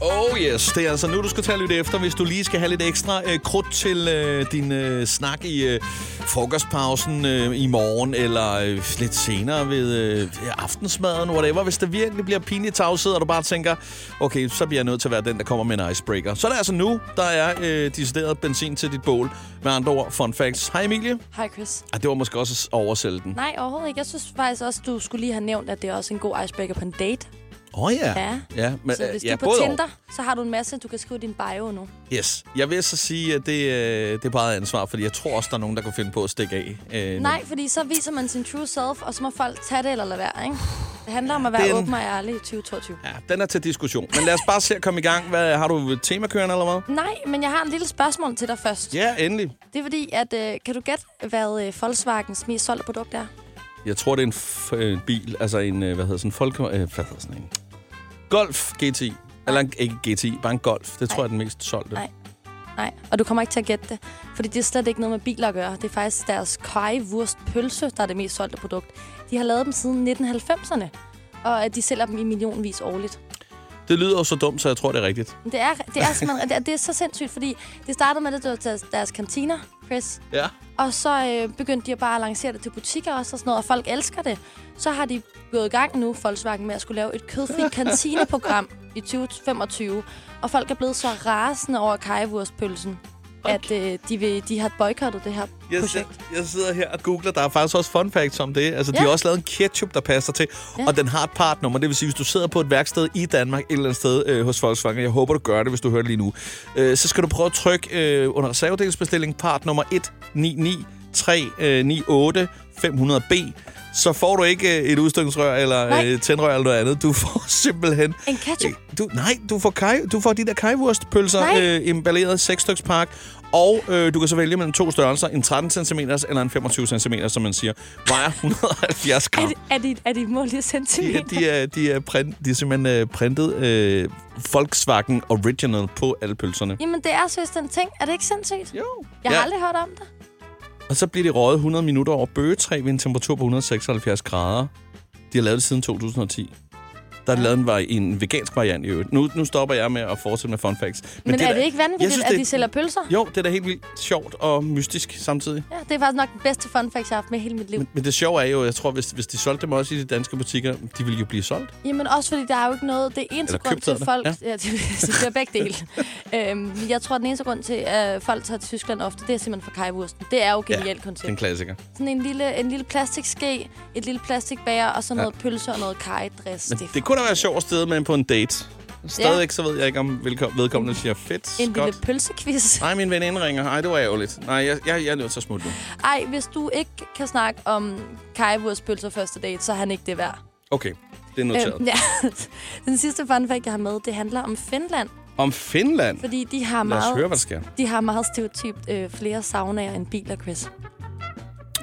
Oh yes, det er altså nu, du skal tage og lytte efter, hvis du lige skal have lidt ekstra øh, krudt til øh, din øh, snak i øh, frokostpausen øh, i morgen, eller øh, lidt senere ved øh, aftensmaden, whatever. Hvis der virkelig bliver pinligt tavshed, og du bare tænker, okay, så bliver jeg nødt til at være den, der kommer med en icebreaker. Så er det altså nu, der er øh, decideret benzin til dit bål. Med andre ord, fun facts. Hej Emilie. Hej, Chris. Ej, det var måske også at oversælge den. Nej, overhovedet ikke. Jeg synes faktisk også, du skulle lige have nævnt, at det er også en god icebreaker på en date. Åh oh, ja. Ja. ja men, så hvis ja, du er på både og. Tinder, så har du en masse, du kan skrive i din bio nu. Yes. Jeg vil så sige, at det, øh, det er bare ansvar, fordi jeg tror også, der er nogen, der kunne finde på at stikke af. Øh, Nej, fordi så viser man sin true self, og så må folk tage det eller lade være, ikke? Det handler om at være Den- åben og ærlig i 2022. Ja, den er til diskussion. Men lad os bare se at komme i gang. Hvad, har du et tema kørende eller hvad? Nej, men jeg har en lille spørgsmål til dig først. Ja, endelig. Det er fordi, at øh, kan du gætte, hvad øh, Volkswagens mest solgte produkt er? Jeg tror, det er en f- øh, bil, altså en, øh, hvad hedder sådan en folk... Øh, hvad hedder sådan en? Golf GTI. Eller en, ikke GTI, bare en Golf. Det tror Nej. jeg er den mest solgte. Nej. Nej, og du kommer ikke til at gætte det, fordi det er slet ikke noget med biler at gøre. Det er faktisk deres currywurst pølse, der er det mest solgte produkt. De har lavet dem siden 1990'erne, og øh, de sælger dem i millionvis årligt. Det lyder jo så dumt, så jeg tror, det er rigtigt. Men Det er, det er, simpelthen, det er, det er så sindssygt, fordi det startede med, at det var deres, deres kantiner, Chris. Ja. Og så øh, begyndte de at bare lancere det til butikker også og sådan noget, og folk elsker det. Så har de gået i gang nu, Volkswagen, med at skulle lave et kødfri kantineprogram i 2025. Og folk er blevet så rasende over kajevurstpølsen, at øh, de, vil, de har boykottet det her Jeg, projekt. sid- jeg sidder her og googler. Der er faktisk også fun facts om det. Altså, ja. de Ja. har også lavet en ketchup, der passer til. Ja. Ja. Og den har et partnummer. Det vil sige, hvis du sidder på et værksted i Danmark, et eller andet sted øh, hos Volkswagen, jeg håber, du gør det, hvis du hører det lige nu, øh, så skal du prøve at trykke øh, under reservedelsbestilling partnummer øh, 199398-500B. Så får du ikke øh, et udstykningsrør eller Nej. øh, tændrør eller noget andet. Du får simpelthen... En ketchup? Øh, Du, nej, du får, kaj, du får de der kajvurstpølser Nej. øh, emballeret seksstykspakke, og øh, du kan så vælge mellem to størrelser, en 13 cm eller en 25 cm, som man siger. Vejer 170 Er, gram. det- er, de, er de mål i De, er- centimeter? de, er, de, er print, de er simpelthen øh, printet øh, Volkswagen Original på alle pølserne. Jamen, det er seriøst en ting. Er det ikke sindssygt? Jo. Jeg har aldrig hørt om det. Og så bliver det røget 100 minutter over bøgetræ ved en temperatur på 176 grader. De har lavet det siden 2010. Der er lavet en, vari- en vegansk variant i øvrigt. Nu, nu stopper jeg med at fortsætte med fun facts. Men, Men, Men er da- det ikke vanvittigt, Jeg synes, at det- de sælger pølser? Jo, det er da helt vildt sjovt og mystisk samtidig. Ja, det er faktisk nok den bedste fun fact, jeg har haft med i hele mit liv. Men, men det sjove er jo, jeg tror, hvis, hvis de solgte dem også i de danske butikker, de ville jo blive solgt. Jamen også fordi, der er jo ikke noget... Det eneste Eller grund til, købtæderne. folk... Ja. Ja, det, det er begge dele. øhm, jeg tror, den eneste grund til, at folk tager til Tyskland ofte, det er simpelthen for kajvursten. Det er jo et genialt Ja, ja, Det er en koncept. klassiker. Sådan en lille, en lille plastikske, et lille plastikbager, og så noget pølse og noget kajdress. Men det kunne da være et sjovt sted med på en date. Stadigvæk så ved jeg ikke, om velko- vedkommende siger fedt, en lille godt. pølsequiz. Nej, min veninde ringer. Nej, det var ærgerligt. Nej, jeg, jeg, jeg er nødt til at smutte nu. Ej, hvis du ikke kan snakke om kajvurstpølser første date, så er han ikke det værd. Øhm, Okay, det er noteret. ja. Den sidste fun fact, jeg har med, det handler om Finland. Om Finland. Fordi de har Lad os Øhm. meget, høre, hvad der sker. de har meget stereotypt øh, flere saunaer end biler, Chris.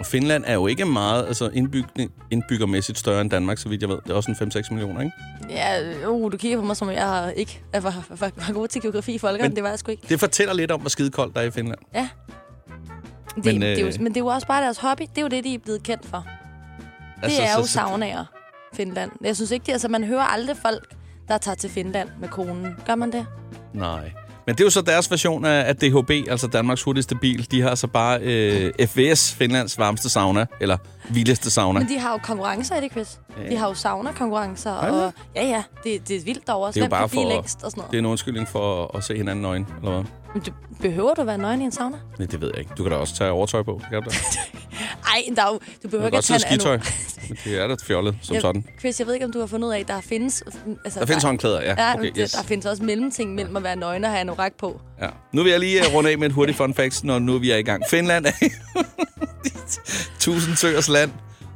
Finland er jo ikke meget altså indbygne, indbyggermæssigt større end Danmark, så vidt jeg ved. Det er også en 5-6 millioner, ikke? Ja, uh, du kigger på mig, som om jeg har ikke er, var, var, var god til geografi i folkeren. Men- Men, det var jeg sgu ikke. Det fortæller lidt om, hvor skide koldt der er i Finland. Det, Men, men, det, er øh, jo, men det er jo også bare deres hobby. Det er jo det, de er blevet kendt for. Det Altså, er så- jo så- saunaer, Finland. Jeg synes ikke, det, altså man hører aldrig folk, der tager til Finland med konen. Gør man det? Nej. Men det er jo så deres version af, af DHB, altså Danmarks hurtigste bil. De har så bare øh, FVS, Finlands varmeste sauna, eller vildeste sauna. Men de har jo konkurrencer i det, Chris. Ja. De har jo sauna-konkurrencer. Har de Og, ja, ja. Det, det er vildt derovre. Det er jo Hvem bare kan blive for- længst og sådan Det er noget. en undskyldning for at, at se hinanden nøgen, eller hvad? Men du, behøver du at være nøgen i en sauna? Nej, det ved jeg ikke. Du kan da også tage overtøj på. Det kan du da. Du Ej, der er jo, du behøver kan godt ikke at tage tage en skitøj. Men Det er da fjollet, som Jeg- sådan. Chris, jeg ved ikke, om du har fundet ud af, at der findes... Altså, Der findes håndklæder, ja. Ja, Okay, okay, yes. der findes også mellemting mellem at være nøgen og have anorak på. ja. Nu vil jeg lige øh, runde af med et hurtigt fun fact, når nu vi er i gang. Finland er tusind søers land.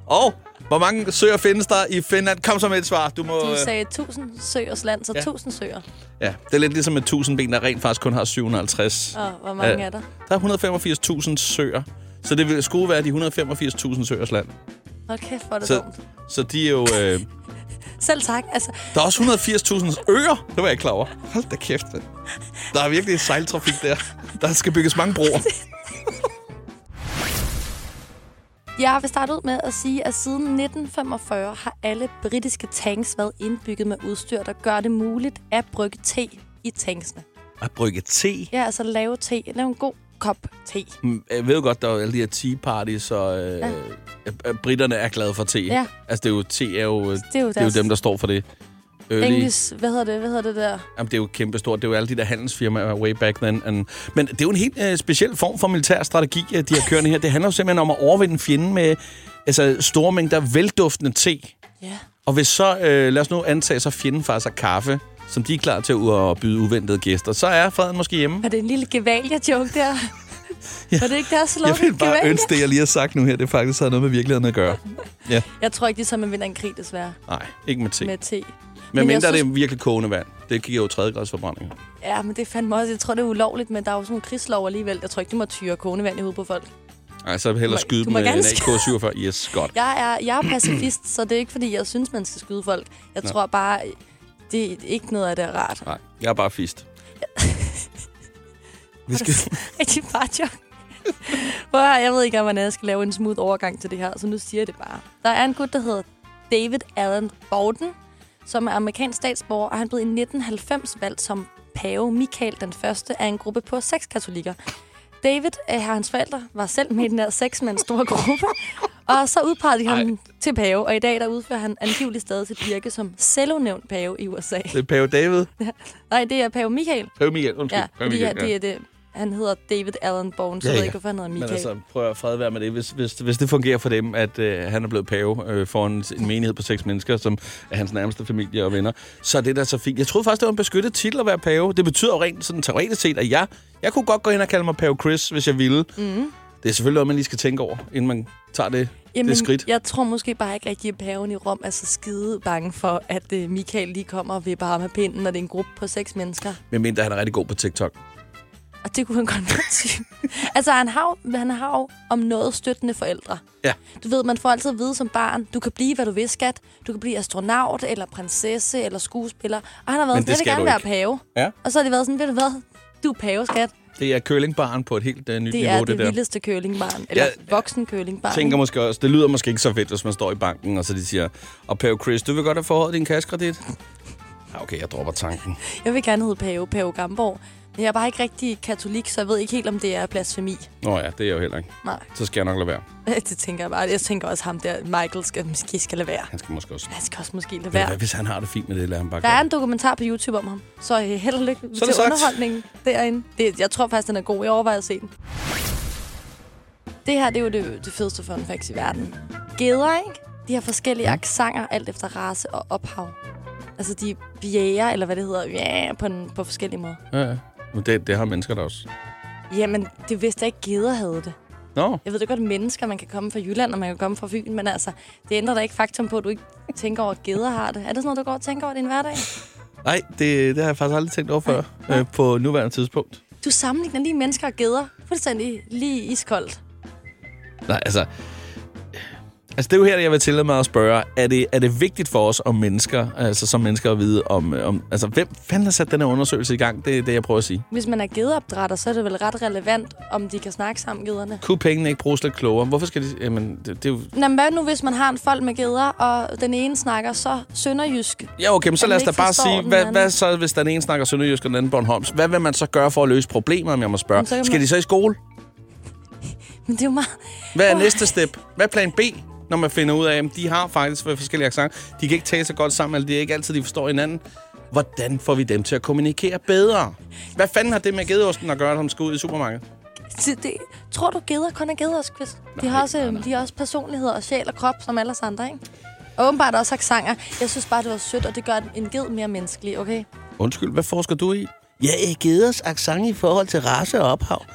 Og hvor mange søer findes der i Finland? Kom så med et svar. Du må... Du øh, sagde 1000 søers land, så Ja. 1000 søer. Ja, det er lidt ligesom et tusindben, der rent faktisk kun har 750. Og hvor mange Ja. er der? Der er 185.000 søer. Så det ville- skulle være de 185.000 søers land. Hold kæft, hvor er det Så, dumt. så de er jo... Øh, Selv tak. Altså, der er også 180.000 øer. Det var jeg ikke klar over. Hold da kæft. mand. Der er virkelig sejltrafik der. Der skal bygges mange broer. jeg vil starte ud med at sige, at siden 1945 har alle britiske tanks været indbygget med udstyr, der gør det muligt at brygge te i tanksene. At brygge te. Ja, altså lave te. Lave en god kop te. Mm, Jeg ved jo godt, der er jo alle de her tea parties, og øh, Ja. ja. britterne er glade for te. Ja. Altså, det er jo, te er jo, øh, Det er jo det er jo deres dem, der står for det. Early. English, hvad hedder det, hvad hedder det der? Jamen, det er jo kæmpestort. Det er jo alle de der handelsfirmaer way back then. And, men det er jo en helt øh, speciel form for militær strategi, øh, de har kørende her. Det handler jo simpelthen om at overvinde fjenden med altså, store mængder velduftende te. Ja. Og hvis så, øh, lad os nu antage, så fjenden faktisk har kaffe, som de er klar til at, u- at byde uventede gæster, så er freden måske hjemme. Var det en lille gevalia-joke der? Var det ikke deres slogan? Jeg vil bare Gevalia? ønske det, jeg lige har sagt nu her. Det faktisk havde noget med virkeligheden at gøre. Ja. Jeg tror ikke, det er sådan, man vinder en krig, desværre, Nej, ikke med te. med te. Men jeg mindre synes... det er virkelig kogende vand. Det giver jo tredjegradsforbrænding. Ja, men det fandme også. Jeg tror, det er ulovligt, men der er jo sådan nogle krigslov alligevel. Jeg tror ikke, du må tyre kogevand i hovedet på folk. Nej, så hellere må- skyde du dem må med en gerne skyde. AK-47. Yes, godt. Jeg er, jeg er pacifist, så det er ikke, fordi jeg synes, man skal skyde folk. Jeg Nå. tror bare, det er ikke noget af det er rart. Nej, jeg er bare fist. Vi skal... Rigtig fart, jo. Prøv at høre, jeg ved ikke, om jeg skal lave en smooth overgang til det her, så nu siger jeg det bare. Der er en gut, der hedder David Allen Borden, som er amerikansk statsborger, og han blev i 1990 valgt som pave Michael den første af en gruppe på seks katolikker. David og hans forældre var selv med i den her seks mand store gruppe, og så udpegede de ham Ej. til pave, og i dag der udfører han angiveligt stadig sit virke som selvnævnt pave i USA. Det er Pave David. Nej, det er pave Michael. Pave Michael, undskyld. Ja, fordi ja, det er det. Han hedder David Allen Bowen, så Ja, ja, jeg ved ja. ikke, hvorfor han hedder Men Michael. altså, prøv at fred være med det. Hvis, hvis, hvis det fungerer for dem, at øh, han er blevet pave øh, for en, en menighed på seks mennesker, som er hans nærmeste familie og venner, så er det da så fint. Jeg troede faktisk, det var en beskyttet titel at være pave. Det betyder jo rent sådan teoretisk set, at jeg, jeg kunne godt gå ind og kalde mig pave Chris, hvis jeg ville. Mm. Mhm. Det er selvfølgelig noget, man lige skal tænke over, inden man tager det, Jamen, det skridt. jeg tror måske bare ikke rigtig, at paven i Rom er så skide bange for, at øh, Michael lige kommer og vipper ham af pinden, når det er en gruppe på seks mennesker. Medmindre han er rigtig god på TikTok. Og det kunne han godt være til. altså, han har, jo- han har jo om noget støttende forældre. Ja. Du ved, man får altid at vide som barn, du kan blive, hvad du vil, skat. Du kan blive astronaut, eller prinsesse, eller skuespiller. Og han har været Men sådan, det jeg vil skal gerne du være ikke." pave. Ja. Og så har de været sådan, ved du hvad, du er pave, skat. Det er curlingbaren på et helt uh, nyt Det niveau, er det, det der. vildeste curlingbarn. Eller Ja. voksen curlingbarn. tænker ikke? måske også, det lyder måske ikke så fedt, hvis man står i banken, og så de siger, og Pave Chris, du vil godt have forhøjet din kassekredit? Ja, okay, jeg dropper tanken. Jeg vil gerne hedde Pave, Pave Gamborg. Men jeg er bare ikke rigtig katolik, så jeg ved ikke helt, om det er blasfemi. Nå ja, det er jeg jo heller ikke. Nej, Så skal jeg nok lade være. det tænker jeg bare. Jeg tænker også, ham der, Michael, skal måske skal lade være. Han skal måske også... Han skal også måske lade Ved du hvad, være. hvis han har det fint med det, lader han bare Der gøre er det. en dokumentar på YouTube om ham, så øh, held og lykke til det sagt. underholdningen derinde. Det, jeg tror faktisk, den er god. Jeg overvejer at se den. Det her, det er jo det, det fedeste fun facts i verden. Geder, ikke? De har forskellige aksanger, alt efter race og ophav. Altså, de bjæger, eller hvad det hedder, ja, på, en, på forskellige måder. Ja, ja. Men det, det har mennesker da også. Jamen, det vidste jeg ikke, geder havde det. Nå, Jeg ved da godt, at mennesker, man kan komme fra Jylland, og man kan komme fra Fyn, men altså, det ændrer da ikke faktum på, at du ikke tænker over, at geder har det. Er det sådan noget, du går og tænker over i din hverdag? nej, det, det har jeg faktisk aldrig tænkt over før, øh, på nuværende tidspunkt. Du sammenligner lige mennesker og geder. Fuldstændig lige iskoldt. Nej, altså... Altså, det er jo her, jeg vil tillade mig at spørge, er det, er det vigtigt for os om mennesker, altså som mennesker at vide om... øh, om altså, hvem fanden har sat den her undersøgelse i gang? Det er det, jeg prøver at sige. Hvis man er gederopdrætter, så er det vel ret relevant, om de kan snakke sammen, gederne. Kunne pengene ikke bruges lidt klogere? Hvorfor skal de... Jamen, det, det er jo... Nå, men hvad nu, hvis man har en folk med geder, og den ene snakker så sønderjysk? Ja, okay, men så At lad man os da ikke bare forstår sige, den hvad, anden. hvad så, hvis den ene snakker sønderjysk og den anden Bornholms? Hvad vil man så gøre for at løse problemer, om jeg må spørge? Men så kan Skal man- de så i skole? Men det er jo meget... Hvad er Åh. næste step? Hvad er plan B, når man finder ud af, at de har faktisk forskellige accenter? De kan ikke tale så godt sammen, eller det er ikke altid, de forstår hinanden. Hvordan får vi dem til at kommunikere bedre? Hvad fanden har det med gedeosten at gøre, når de skal ud i supermarkedet? Så Det, tror du, geder kun er gederskvist? De har også, øhm, de har også personligheder og sjæl og krop, som alle os andre, ikke? Og åbenbart også aksanger. Jeg synes bare, det var sødt, og det gør en ged mere menneskelig, okay? Undskyld, hvad forsker du i? Ja, øh, geders accent i forhold til race og ophav.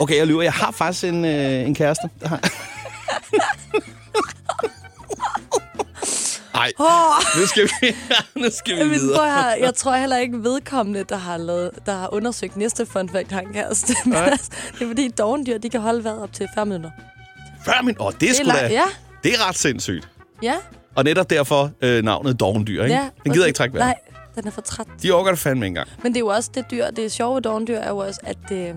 Okay, jeg lyver. Jeg har faktisk en, øh, en kæreste. Der har... Ej, Åh, nu skal vi, nu skal vi men prøv videre. her, jeg tror heller ikke vedkommende, der har, lavet, der har undersøgt næste fun fact, han kæreste. Men Nej. altså, det er fordi, dogendyr, de kan holde vejret op til 5 minutter. Før min... Åh, det er sgu lang- da... ja. Det er ret sindssygt. Ja, Og netop derfor øh, navnet dovendyr, ikke? ja. Den gider ikke trække vejret. Nej, den er for træt. De overgår det fandme ikke engang. Men det er jo også det dyr, det sjove ved dovendyr er jo også, at øh,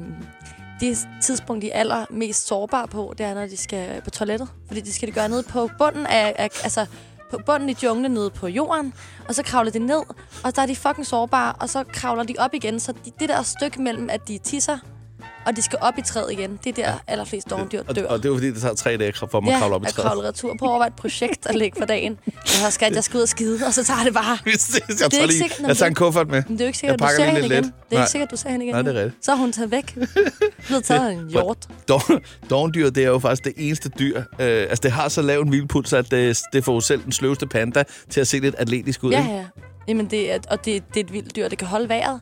det tidspunkt, de er allermest sårbare på, det er, når de skal på toilettet. Fordi de skal det gøre nede på bunden af, af altså på bunden i junglen nede på jorden, og så kravler de ned, og der er de fucking sårbare, og så kravler de op igen. Så de, det der stykke mellem, at de tisser, og de skal op i træet igen, det er der allerflest dovendyr dør. Og, og det er jo fordi, det tager tre dage for mig at kravle op i at træet. kravle retur. Prøv at overveje et projekt at lægge for dagen. Jeg har skat, jeg skal ud og skide, og så tager det bare. Vi ses. jeg Det er tager, ikke lige, sikkert, når jeg tager en du- kuffert med. Men det er jo ikke Jeg sikkert, at du pakker ser lige hende lidt igen. let. Det er Nej. ikke sikkert, at du ser hende igen. Nej, det er nu. rigtigt. Så er hun taget væk. Blevet taget af en hjort. Dov- Dovendyr, det er jo faktisk det eneste dyr. Øh, altså, det har så lav en hvilepuls, at det, det får jo selv den sløveste panda til at se lidt atletisk ud. Ja, ikke? ja. Jamen, det er, og det, det er et vildt dyr, det kan holde vejret.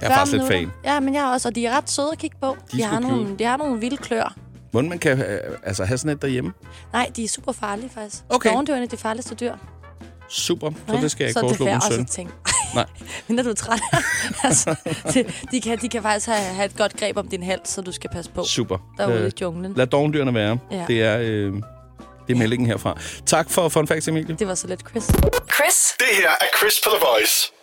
Jeg er faktisk lidt 40 fan. minutter. Ja, men jeg er også, og de er ret søde at kigge på. De, sgu har, cute. nogle, de har nogle vilde klør. Hvordan man kan øh, altså, have sådan et derhjemme? Nej, de er super farlige faktisk. Okay. Dovendyrene er de farligste dyr. Super, så Ja, det skal jeg så ikke foreslå det min også søn. en ting. Nej. men når du er træt, altså, det, de, kan, de kan faktisk have, have et godt greb om din hals, så du skal passe på Super. derude Øh, i junglen. lad dovendyrene være. Ja. Det er, øh, det er meldingen herfra. Tak for Fun Facts, Emilie. Det var så let, Chris. Chris Det her er Chris på The Voice.